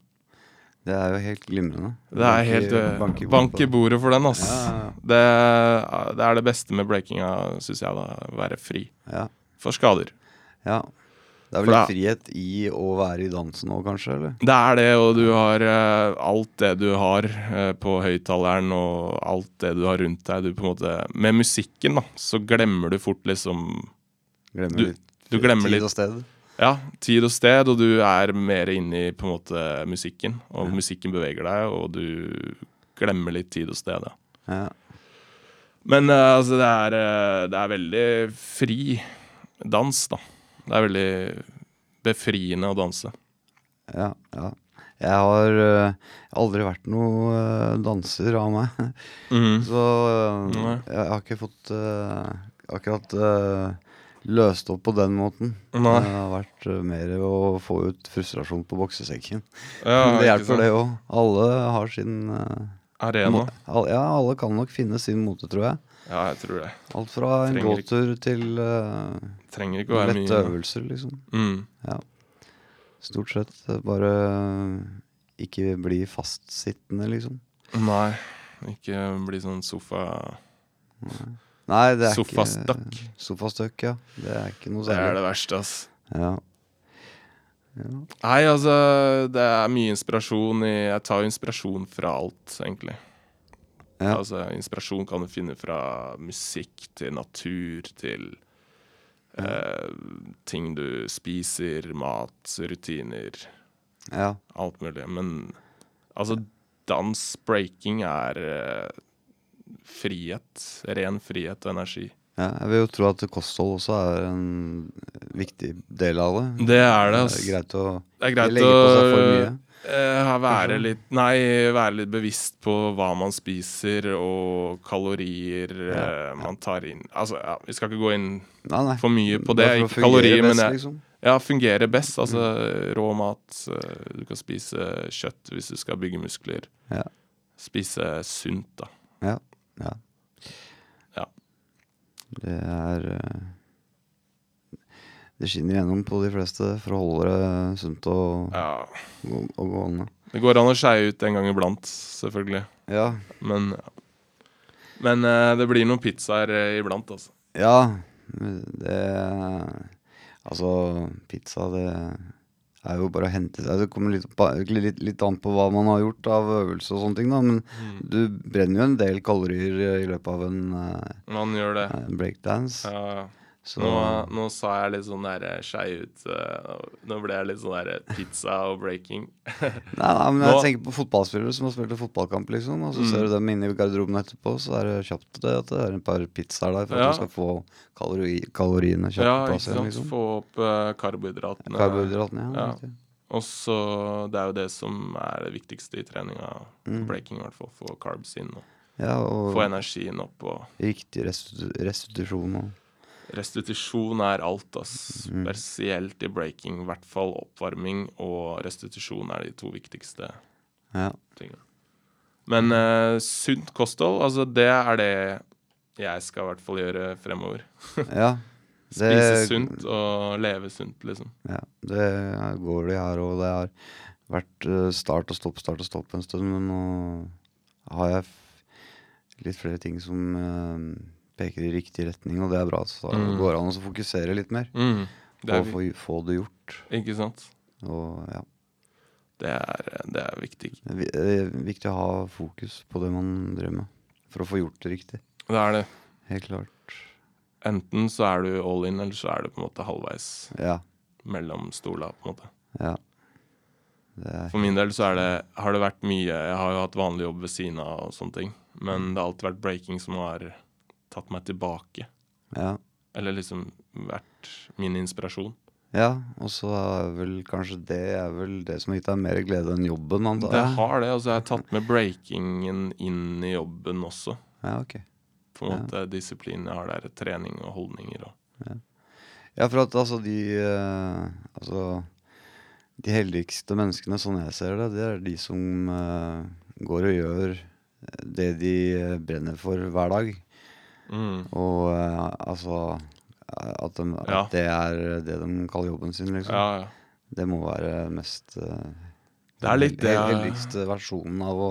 S3: det er jo helt glimrende.
S4: Det er helt eh, Bank i bordet for den, ass.
S3: Ja, ja, ja.
S4: Det, er- det er det beste med breakinga, syns jeg. da Være fri
S3: Ja,
S4: for skader.
S3: ja. Det er
S4: For
S3: vel
S4: da-
S3: litt frihet i å være i dansen òg, kanskje? eller?
S4: Det er det, og du har eh, alt det du har eh, på høyttaleren og alt det du har rundt deg. Du på en måte, med musikken da, så glemmer du fort liksom
S3: Glemmer
S4: Du-
S3: litt
S4: du glemmer
S3: tid
S4: litt-
S3: og sted.
S4: Ja, tid og sted, og du er mer inne i på en måte musikken. Og musikken beveger deg, og du glemmer litt tid og sted. Ja.
S3: Ja.
S4: Men eh, altså, det er, eh, det er veldig fri dans, da. Det er veldig befriende å danse.
S3: Ja, ja. Jeg har øh, aldri vært noen danser av meg. Så øh,
S4: Mm. Nei.
S3: jeg, jeg har ikke fått øh, akkurat øh, løst opp på den måten.
S4: Nei.
S3: Det har vært øh, mer å få ut frustrasjon på boksesekken.
S4: Ja,
S3: Men det
S4: ikke
S3: hjelper,
S4: sant?
S3: det òg. Alle har sin øh,
S4: Arena.
S3: må- al- Ja, alle kan nok finne sin mote, tror jeg.
S4: Ja, jeg tror det.
S3: Alt fra en
S4: Trenger ikke-
S3: gåtur til øh,
S4: Trenger ikke å være
S3: lette
S4: mye
S3: øvelser, liksom.
S4: Mm.
S3: Stort sett øh, bare øh, ikke bli fastsittende, liksom.
S4: Nei, ikke bli sånn sofa...
S3: Nei, det er
S4: Sofastøkk.
S3: ikke Sofastøkk, ja. Det er ikke noe
S4: Det er
S3: særlig.
S4: det verste, ass.
S3: Ja. Ja.
S4: Nei, altså, det er mye inspirasjon i Jeg tar inspirasjon fra alt, egentlig.
S3: Ja.
S4: Altså, inspirasjon kan du finne fra musikk til natur til eh, ting du spiser, mat, rutiner, altså.
S3: ja.
S4: alt mulig. Men altså, dans, breaking, er eh, frihet. Ren frihet og energi.
S3: ja. Jeg vil jo tro at kosthold også er en viktig del av det.
S4: Det er
S3: Mm. Det
S4: det, altså.
S3: er greit å
S4: Det er
S3: ikke
S4: greit
S3: legge
S4: å
S3: på seg for mye.
S4: eh, være litt Nei, være litt bevisst på hva man spiser og kalorier eh, man tar inn. Altså, ja, vi skal ikke gå inn
S3: Nei, nei.
S4: for mye på det.
S3: Bare for å
S4: Ikke
S3: fungere
S4: kalorier, men jeg,
S3: liksom. Mm.
S4: ja, fungere best. Altså rå mat. eh, Du kan spise kjøtt hvis du skal bygge muskler.
S3: Ja.
S4: Spise sunt, da.
S3: Ja. ja.
S4: Ja.
S3: Det er eh, Det skinner gjennom på de fleste for å holde det sunt og,
S4: Ja.
S3: og, og gående.
S4: Det går an å skeie ut en gang iblant, selvfølgelig.
S3: Ja.
S4: Men, men eh, det blir noen pizzaer eh, iblant, altså.
S3: Ja, men det Altså, pizza, det er jo bare å hente seg Det kommer litt, ba- litt, litt an på hva man har gjort av øvelse og sånne ting, da. Men du brenner jo en del kalorier eh, i løpet av en eh,
S4: Man gjør det.
S3: en breakdance.
S4: Ja, ja.
S3: Så
S4: Nå, eh, nå sa jeg litt sånn der eh, skei ut eh, Nå ble jeg litt sånn der eh, pizza og breaking.
S3: Nei, nei, men jeg
S4: Nå-
S3: tenker på fotballspillere som har spilt en fotballkamp, liksom. Og så
S4: Mm.
S3: ser du dem inne i garderoben etterpå, så er det kjapt det at det er et par pizzaer der for
S4: Ja.
S3: at du skal få kalori, kaloriene kjapt
S4: Ja,
S3: på
S4: ikke
S3: plass igjen,
S4: sant?
S3: liksom.
S4: Få opp eh, karbohydratene.
S3: Karbohydratene, ja.
S4: Ja.
S3: riktig.
S4: Og så Det er jo det som er det viktigste i treninga. Breaking, i hvert fall. Få carbs inn. Og
S3: ja Mm. og
S4: få energien opp. Og
S3: riktig restitu restitusjon og
S4: restitusjon er alt, ass.
S3: Mm.
S4: Spesielt i breaking. I hvert fall oppvarming og restitusjon er de to viktigste
S3: Ja.
S4: tingene. Men eh, sunt kosthold, altså det er det jeg skal i hvert fall gjøre fremover.
S3: ja.
S4: Spise sunt og leve sunt, liksom.
S3: Ja, det går det her, og det har vært eh, start og stopp, start og stopp en stund, men nå har jeg f- litt flere ting som eh, peker i riktig retning, og det er bra. Så da
S4: Mm.
S3: går det an å fokusere litt mer
S4: Mm. Det
S3: på
S4: er,
S3: å få, få det gjort.
S4: vi- ikke sant?
S3: Og ja.
S4: Det er, det er viktig.
S3: Det er vi- det er viktig å ha fokus på det man driver med, for å få gjort det riktig.
S4: Det er det.
S3: Helt klart.
S4: Enten så er du all in, eller så er du på en måte halvveis
S3: Ja.
S4: mellom stola, på en måte.
S3: ja. Det er,
S4: For min del så er det, har det vært mye Jeg har jo hatt vanlig jobb ved siden av og sånne ting. Men det har alltid vært breaking som har tatt meg tilbake.
S3: ja.
S4: Eller liksom vært min inspirasjon.
S3: ja, og så er vel kanskje det er vel det som har gitt deg mer glede enn jobben, antar
S4: Det
S3: jeg.
S4: har det. Altså, jeg har tatt med breakingen inn i jobben også.
S3: Ja, ok.
S4: På en måte disiplin jeg har der, trening og holdninger og
S3: Ja, for at altså de eh, Altså De heldigste menneskene, sånn jeg ser det, det er de som eh, går og gjør det de eh, brenner for hver dag.
S4: mm.
S3: Og eh, altså eh, at, dem- at
S4: Ja.
S3: det er det de kaller jobben sin, liksom.
S4: Ja, ja.
S3: Det må være mest eh,
S4: Det er litt
S3: den
S4: det
S3: hel-
S4: jeg-
S3: heldigste versjonen av å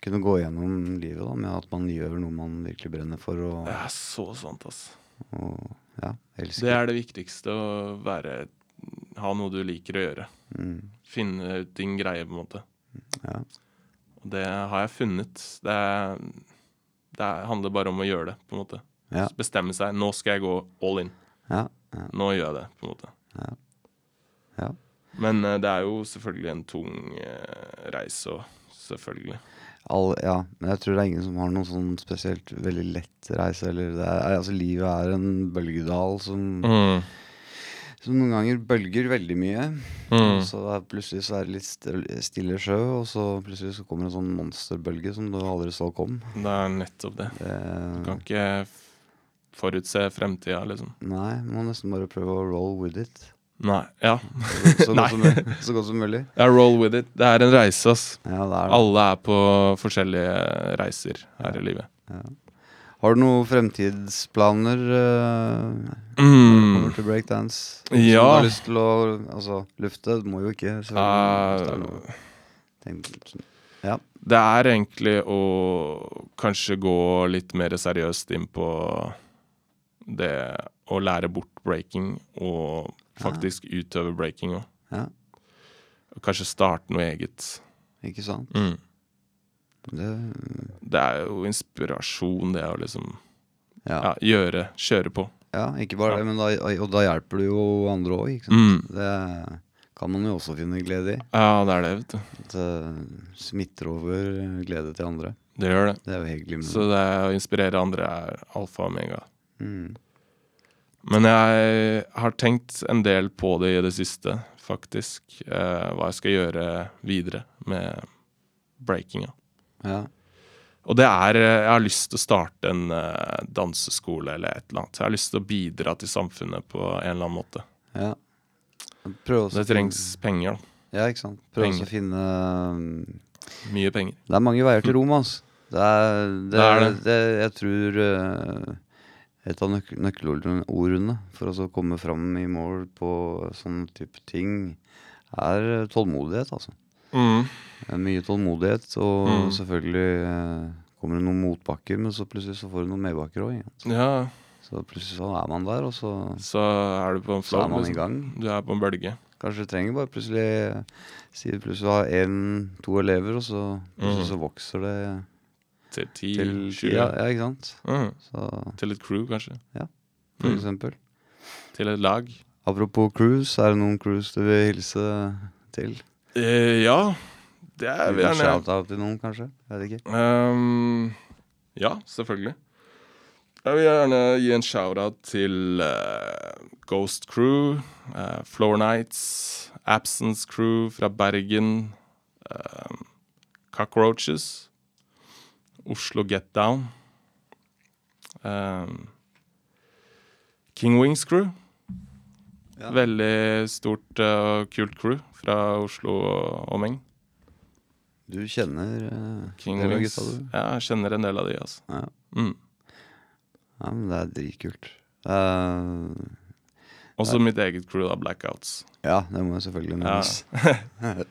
S3: kunne gå gjennom livet da, med at man gjør noe man virkelig brenner for, og,
S4: Det er så sant, ass.
S3: og ja, elsker.
S4: Det er det viktigste, å være Ha noe du liker å gjøre.
S3: Mm,
S4: Finne ut din greie, på en måte.
S3: ja.
S4: Og det har jeg funnet. Det, er- det er- handler bare om å gjøre det, på en måte.
S3: Ja.
S4: Bestemme seg. Nå skal jeg gå all in.
S3: Ja, ja,
S4: Nå gjør jeg det, på en måte.
S3: ja.
S4: Men eh, det er jo selvfølgelig en tung eh, reise og Selvfølgelig.
S3: All, ja, men jeg tror det er ingen som har noen sånn spesielt veldig lett reise. Eller det er, altså, livet er en bølgedal som,
S4: Mm.
S3: som noen ganger bølger veldig mye.
S4: Mm.
S3: Og Så det er, plutselig så er det litt stil- stille sjø, og så plutselig så kommer en sånn monsterbølge som du aldri så kom.
S4: Det er nettopp det.
S3: Det,
S4: Du kan ikke f- forutse fremtida, liksom.
S3: nei, må nesten bare prøve å roll with it.
S4: Nei. Ja.
S3: Så
S4: Nei.
S3: godt, som, mulig- så godt som mulig.
S4: ja, roll with it. Det er en reise, ass.
S3: Ja, det er det.
S4: Alle er på forskjellige reiser her i livet.
S3: Har du noen fremtidsplaner eh, når det
S4: Mm.
S3: kommer til breakdance? Som du
S4: Ja.
S3: har lyst til å altså, lufte? Du må jo ikke, selvfølgelig. hvis det er noe.
S4: Eh,
S3: Tenk, sånn,
S4: Det er egentlig å kanskje gå litt mer seriøst inn på det å lære bort breaking, og faktisk utøve breaking òg.
S3: Ja.
S4: Kanskje starte noe eget. Mm.
S3: ikke sant? Det,
S4: Det er jo inspirasjon, det å liksom
S3: ja.
S4: ja, gjøre, kjøre på.
S3: ja, ikke bare det, men da, og da hjelper du jo andre òg, ikke sant?
S4: Mm.
S3: Det kan man jo også finne glede i.
S4: Ja, det er det, vet du.
S3: At det smitter over glede til andre.
S4: Det gjør det.
S3: Det er jo helt glimrende.
S4: Så det å inspirere andre er alfa og omega.
S3: Mm.
S4: Men jeg har tenkt en del på det i det siste, faktisk. Eh, hva jeg skal gjøre videre med breakinga.
S3: Ja.
S4: Og det er eh, Jeg har lyst til å starte en eh, danseskole eller et eller annet. Jeg har lyst til å bidra til samfunnet på en eller annen måte.
S3: ja. Prøv også
S4: Det trengs penger, da.
S3: Ja, ikke sant. Prøv også
S4: Penger.
S3: å finne um,
S4: Mye penger.
S3: Det er mange veier til Rom, altså. Det er, det,
S4: Det er
S3: det. Jeg tror eh, et av nøk nøkkelordene for å så komme fram i mål på sånne type ting, er tålmodighet, altså. Det er mye tålmodighet, og
S4: Mm.
S3: selvfølgelig eh, kommer det noen motbakker, men så plutselig så får du noen medbakker òg.
S4: Ja,
S3: Så plutselig så er man der, og så,
S4: så er du på en
S3: så
S4: flow.
S3: er man i
S4: Liksom.
S3: gang.
S4: Du er på en bølge.
S3: Kanskje du trenger bare plutselig Si du plutselig har én, to elever, og så plutselig så vokser det
S4: Til ti,
S3: til
S4: Mm. sju.
S3: ja, ja, ikke sant?
S4: Mm.
S3: Så
S4: Til et crew, kanskje.
S3: for
S4: Mm.
S3: eksempel.
S4: Til et lag.
S3: Apropos cruise, er det noen cruise du vil hilse til?
S4: Eh, ja, det er vi
S3: Liten
S4: gjerne.
S3: shout-out til noen, kanskje? Jeg vet ikke.
S4: Ehm, ja, selvfølgelig. Jeg vil gjerne gi en shout-out til eh, Ghost Crew, eh, Floor Nights, Absence Crew fra Bergen, ehm, Cockroaches, Oslo Get Down, ehm, King Wings Crew.
S3: Ja.
S4: Veldig stort eh, og kult crew fra Oslo og omegn.
S3: Du kjenner eh,
S4: King
S3: det var
S4: Wings.
S3: gutta, du?
S4: Ja, jeg kjenner en del av de, altså.
S3: Ja.
S4: Mm.
S3: ja, men det er dritkult. Eh,
S4: Også mitt eget crew, da, Blackouts.
S3: ja, det må jeg selvfølgelig
S4: Ja.
S3: nevnes.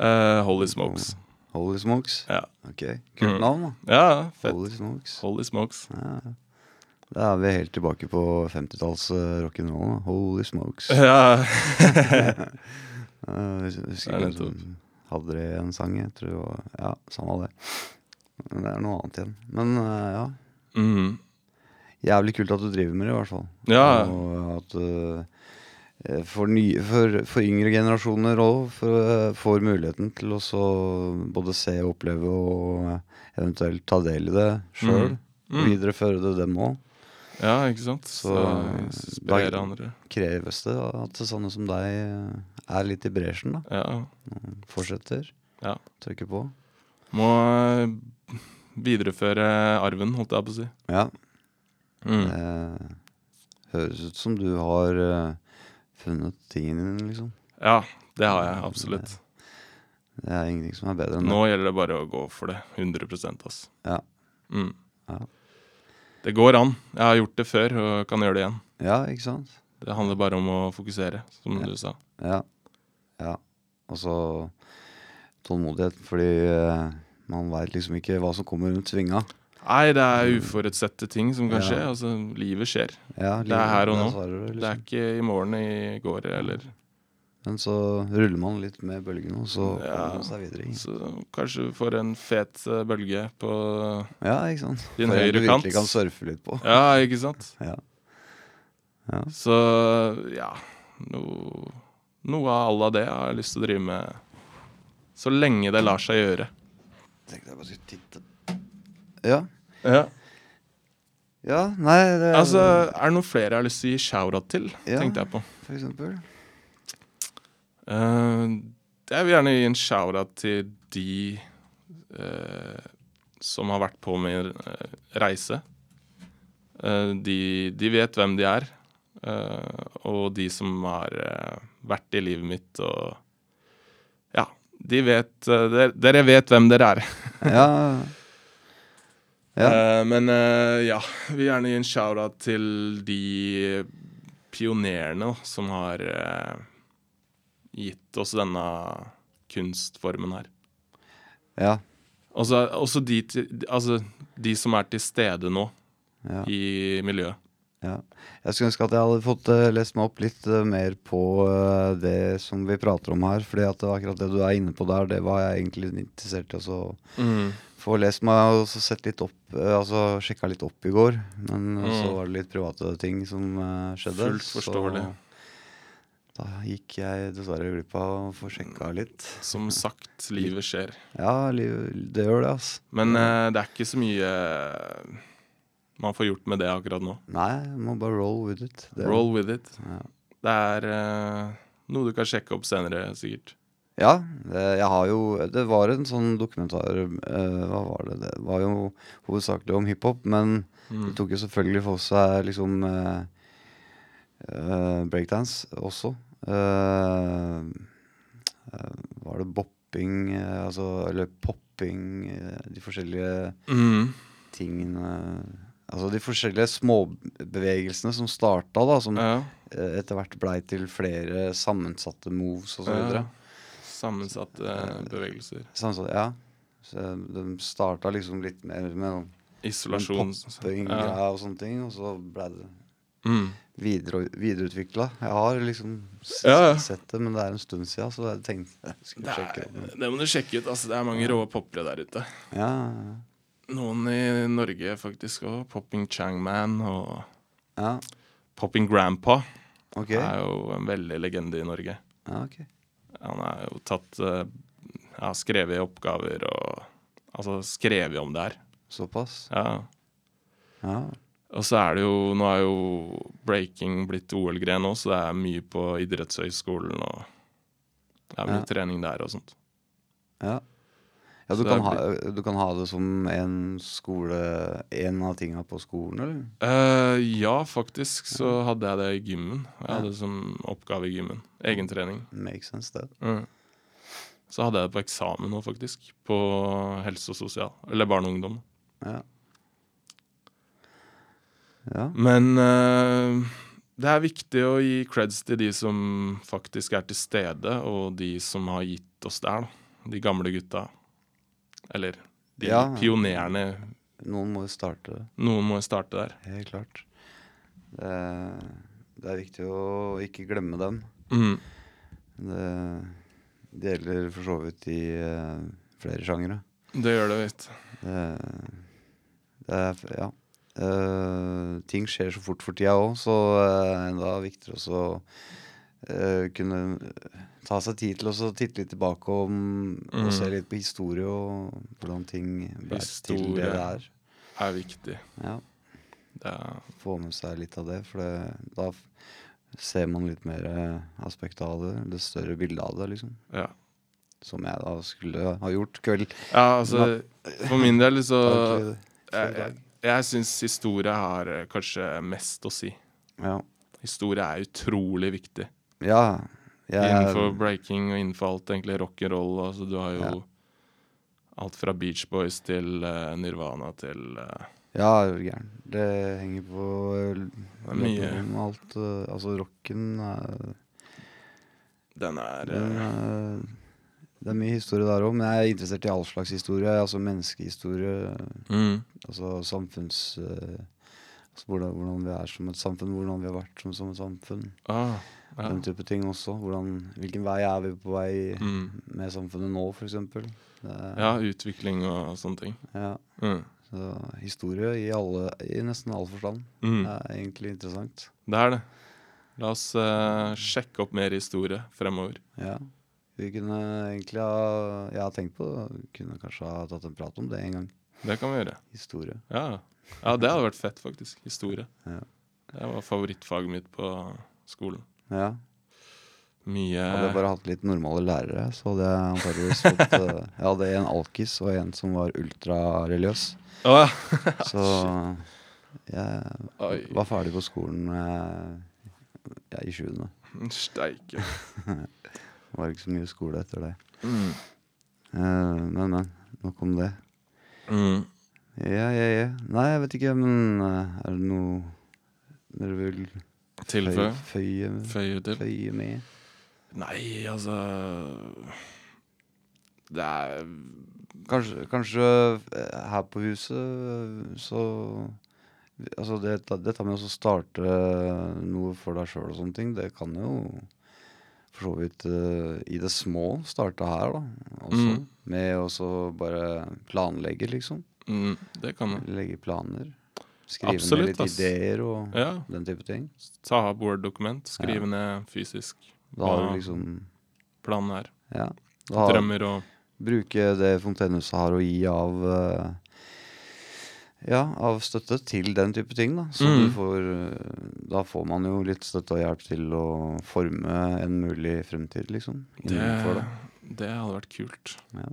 S4: Eh, Holy Smokes.
S3: Holy Smokes.
S4: Ja.
S3: Ok, Kult
S4: Mm.
S3: navn, da.
S4: Ja, fett.
S3: Holy Smokes.
S4: Holy Smokes.
S3: Ja. ja. Da er vi helt tilbake på 50-talls eh, rock'n'roll. da. Holy Smokes.
S4: Ja.
S3: Eh, jeg husker
S4: Det er
S3: ikke hvem som hadde det i en sang. Jeg tror det var, Ja, samme det. Men Det er noe annet igjen. Men eh, ja.
S4: Mhm.
S3: Jævlig kult at du driver med det, i hvert fall.
S4: Ja.
S3: Og at eh, for, nye, for, for yngre generasjoner òg får muligheten til å så både se og oppleve og eh, eventuelt ta del i det sjøl.
S4: Mhm. Mm.
S3: Og videreføre det dem òg.
S4: Ja, ikke sant? Så,
S3: Så, eh,
S4: inspirere
S3: da-
S4: andre.
S3: Kreves det at sånne som deg eh, er litt i bresjen, da?
S4: Ja.
S3: Fortsetter?
S4: Ja.
S3: Trykker på?
S4: Må eh, videreføre arven, holdt jeg på å si.
S3: Ja.
S4: Mm.
S3: Det Eh, høres ut som du har eh, funnet tingen din, liksom.
S4: Ja, det har jeg absolutt.
S3: Det er ingenting som er bedre enn det.
S4: Nå gjelder det bare å gå for det. 100 ass.
S3: Ja.
S4: Mm.
S3: Ja.
S4: Det går an. Jeg har gjort det før og kan gjøre det igjen.
S3: Ja, ikke sant?
S4: Det handler bare om å fokusere, som
S3: Ja.
S4: du sa.
S3: Ja. ja. Og så tålmodighet, fordi eh, man veit liksom ikke hva som kommer rundt svinga.
S4: Nei, det er uforutsette ting som kan
S3: Ja.
S4: skje. Altså, livet skjer.
S3: Ja,
S4: Det er her og nå.
S3: svarer du,
S4: Det er
S3: Liksom.
S4: ikke i morgen, i går eller
S3: Men så ruller man litt med bølgene, og så
S4: Ja.
S3: kommer man seg videre. i.
S4: Så kanskje du får en fet eh, bølge på
S3: Ja, ikke sant?
S4: din
S3: For en
S4: høyre
S3: du
S4: kant.
S3: virkelig kan surfe litt på.
S4: Ja, ikke sant?
S3: Ja. Ja.
S4: Så ja no, Noe av alle det har jeg lyst til å drive med så lenge det lar seg gjøre.
S3: Tenkte jeg bare skulle titte. Ja.
S4: Ja.
S3: ja. Nei, det er
S4: Altså, er det noen flere jeg har lyst til å gi shout-out til?
S3: Ja.
S4: Tenkte jeg på.
S3: for eksempel.
S4: Eh, jeg vil gjerne gi en shout-out til de eh, som har vært på min eh, reise. Eh, de, de vet hvem de er, eh, og de som har eh, vært i livet mitt og Ja, de vet eh, dere, dere vet hvem dere er.
S3: Ja. Ja.
S4: Eh, men eh, ja, vil gjerne gi en shout-out til de pionerene da, som har eh, gitt oss denne kunstformen her.
S3: Ja.
S4: Også, også de, til- altså, de som er til stede nå
S3: ja.
S4: i miljøet.
S3: Ja. Jeg skulle ønske at jeg hadde fått eh, lest meg opp litt eh, mer på eh, det som vi prater om her. Fordi at det var akkurat det du er inne på der, det var jeg egentlig interessert i å så få lest meg og så sett litt opp. eh, altså sjekka litt opp i går, men eh, så
S4: Mm.
S3: var det litt private ting som eh, skjedde.
S4: Fullt forståelig.
S3: Så da gikk jeg dessverre glipp av å få sjekka litt.
S4: Som sagt, livet skjer.
S3: Ja, liv, det gjør det, altså.
S4: Men eh, det er ikke så mye eh, man får gjort med det akkurat nå.
S3: Nei, må bare roll with it. Det-
S4: Roll with it.
S3: Ja.
S4: Det er eh, noe du kan sjekke opp senere, sikkert.
S3: Ja, det, jeg har jo Det var en sånn dokumentar eh, Hva var det? Det var jo hovedsakelig om hiphop, men
S4: Mm.
S3: det tok jo selvfølgelig for seg liksom eh, eh, breakdance også. Eh, eh, var det bopping eh, Altså, eller popping eh, De forskjellige
S4: Mm.
S3: tingene Altså de forskjellige småbevegelsene som starta, da, som
S4: Ja.
S3: eh, etter hvert blei til flere sammensatte moves og så
S4: Ja.
S3: videre.
S4: Sammensatte eh, bevegelser.
S3: Samtidig, Sånn ja. Så de starta liksom litt mer med
S4: Isolasjon.
S3: popping-greia og sånne ting, og så ble det
S4: Mm.
S3: videre, videreutvikla. Jeg har liksom s
S4: Ja, ja.
S3: sett det, men det er en stund sia, så jeg tenkte jeg skulle
S4: Det,
S3: sjekke.
S4: er,
S3: det.
S4: det må du sjekke ut. Altså, det er mange rå poppere der ute.
S3: Ja,
S4: Noen i Norge faktisk òg. Popping Changman og
S3: ja.
S4: Popping Grandpa
S3: Ok.
S4: er jo en veldig legende i Norge.
S3: Ja, ok.
S4: Han er jo tatt eh, Ja, skrevet i oppgaver og Altså skrevet om det her.
S3: Såpass.
S4: Ja.
S3: Ja.
S4: Og så er det jo Nå er jo breaking blitt OL-gren òg, så det er mye på idrettshøyskolen og Det er mye
S3: Ja.
S4: trening der og sånt.
S3: ja. Ja, du
S4: Så det
S3: kan, ha,
S4: blir-
S3: du kan ha det som en skole En av tinga på skolen, eller?
S4: Eh, ja, faktisk så hadde jeg det i gymmen. Jeg hadde det som oppgave i gymmen. Egentrening.
S3: Makes sense, det.
S4: Mm. Så hadde jeg det på eksamen nå, faktisk. På helse og sosial. Eller barn og ungdom.
S3: Ja. Ja.
S4: Men eh, det er viktig å gi creds til de som faktisk er til stede, og de som har gitt oss der, da. De gamle gutta. Eller de
S3: Ja.
S4: pionerene.
S3: Noen må jo starte det.
S4: Noen må jo starte der.
S3: Helt klart. Det, det er viktig å ikke glemme dem.
S4: Mm.
S3: Det, det gjelder for så vidt i eh, flere sjangere.
S4: Det gjør det, vet du.
S3: Det, det er, f- ja. Eh, ting skjer så fort for tida òg, så eh, da er det viktigere også å eh, kunne ta seg tid til også å titte litt tilbake om, og se litt på historie og hvordan ting ble til
S4: Historie.
S3: det det er.
S4: Er viktig.
S3: Ja,
S4: Det er,
S3: Få med seg litt av det, for det, da f- ser man litt mer eh, aspekt av det. Det større bildet av det, liksom.
S4: ja.
S3: Som jeg da skulle ha gjort kveld.
S4: ja, altså For min eh, del så
S3: Dag-
S4: Jeg, jeg, jeg syns historie har eh, kanskje mest å si.
S3: Ja.
S4: Historie er utrolig viktig
S3: ja jeg,
S4: innenfor breaking og innenfor alt, egentlig rock'n'roll. Altså, du har jo alt fra Beach Boys til eh, Nirvana til eh,
S3: Ja, er du gæren. Det henger på
S4: Det er mye.
S3: Om alt eh, Altså, rocken er,
S4: Den er
S3: den
S4: eh,
S3: er Det er mye historie der òg, men jeg er interessert i all slags historie. Altså menneskehistorie,
S4: mm,
S3: altså samfunns... eh, altså hvordan, hvordan vi er som et samfunn, hvordan vi har vært som, som et samfunn.
S4: ah, ja.
S3: Den type ting også. Hvordan, hvilken vei er vi på vei
S4: Mm,
S3: med samfunnet nå, f.eks.? Ja.
S4: ja, utvikling og sånne ting.
S3: ja.
S4: Mm.
S3: Så historie i, alle, i nesten all forstand
S4: Mm.
S3: er egentlig interessant.
S4: Det er det. La oss eh, sjekke opp mer historie fremover.
S3: Ja. Vi kunne egentlig ha Jeg har tenkt på det. Vi kunne kanskje ha tatt en prat om det en gang.
S4: Det kan vi gjøre.
S3: Historie.
S4: Ja, ja det hadde vært fett, faktisk. Historie.
S3: Ja.
S4: Det var favorittfaget mitt på skolen.
S3: Ja.
S4: Mye
S3: Hadde jeg bare hatt litt normale lærere, så hadde jeg antakeligvis fått eh, Jeg hadde en alkis og en som var ultrareligiøs.
S4: Å, ja.
S3: Så jeg
S4: Oi.
S3: var ferdig på skolen eh, ja, i sjuende.
S4: Steike.
S3: Det var ikke så mye skole etter det.
S4: Mm.
S3: Eh, Men, men. Nok om det.
S4: Mm.
S3: Ja, ja, ja. Nei, jeg vet ikke, men eh, er det noe dere vil
S4: Tilføye.
S3: føye- føye
S4: Føye til.
S3: føye med.
S4: Nei, altså Det er
S3: Kanskje, kanskje eh, her på huset eh, så Altså det, dette med å starte eh, noe for deg sjøl og sånne ting, det kan jo for så vidt eh, i det små starte her, da. Også,
S4: Mm.
S3: Med å så bare planlegge, liksom.
S4: mm, Det kan jeg.
S3: Legge planer. Skrive ned
S4: Absolutt,
S3: litt
S4: ass.
S3: ideer og
S4: Ja.
S3: den type ting.
S4: Ta opp Word-dokument, skrive ned fysisk
S3: Da har
S4: Ja.
S3: du liksom
S4: planen her.
S3: Ja. Da har,
S4: Drømmer og
S3: bruke det Fontenehuset har å gi av eh, ja, av støtte til den type ting. Da. Så
S4: Mm.
S3: du får, eh, da får man jo litt støtte og hjelp til å forme en mulig fremtid, liksom.
S4: det,
S3: innenfor det.
S4: det hadde vært kult.
S3: Ja.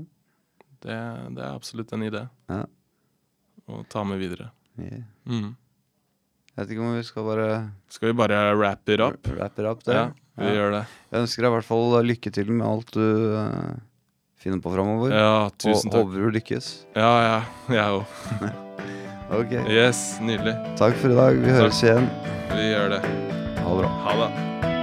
S4: Det, det er absolutt en idé
S3: Ja.
S4: å ta med videre.
S3: Jeg
S4: Mm.
S3: vet ikke om vi skal bare
S4: Skal vi bare wrap it up?
S3: wrap it up
S4: Ja,
S3: der.
S4: vi gjør det.
S3: Jeg ønsker deg i hvert fall lykke til med alt du eh, finner på framover.
S4: Ja,
S3: og
S4: tusen takk.
S3: håper du lykkes.
S4: Ja, ja, jeg òg.
S3: Ok.
S4: Yes, nydelig.
S3: Takk for i dag. Vi
S4: Takk.
S3: høres igjen.
S4: Vi gjør det.
S3: Ha det bra.
S4: Ha det.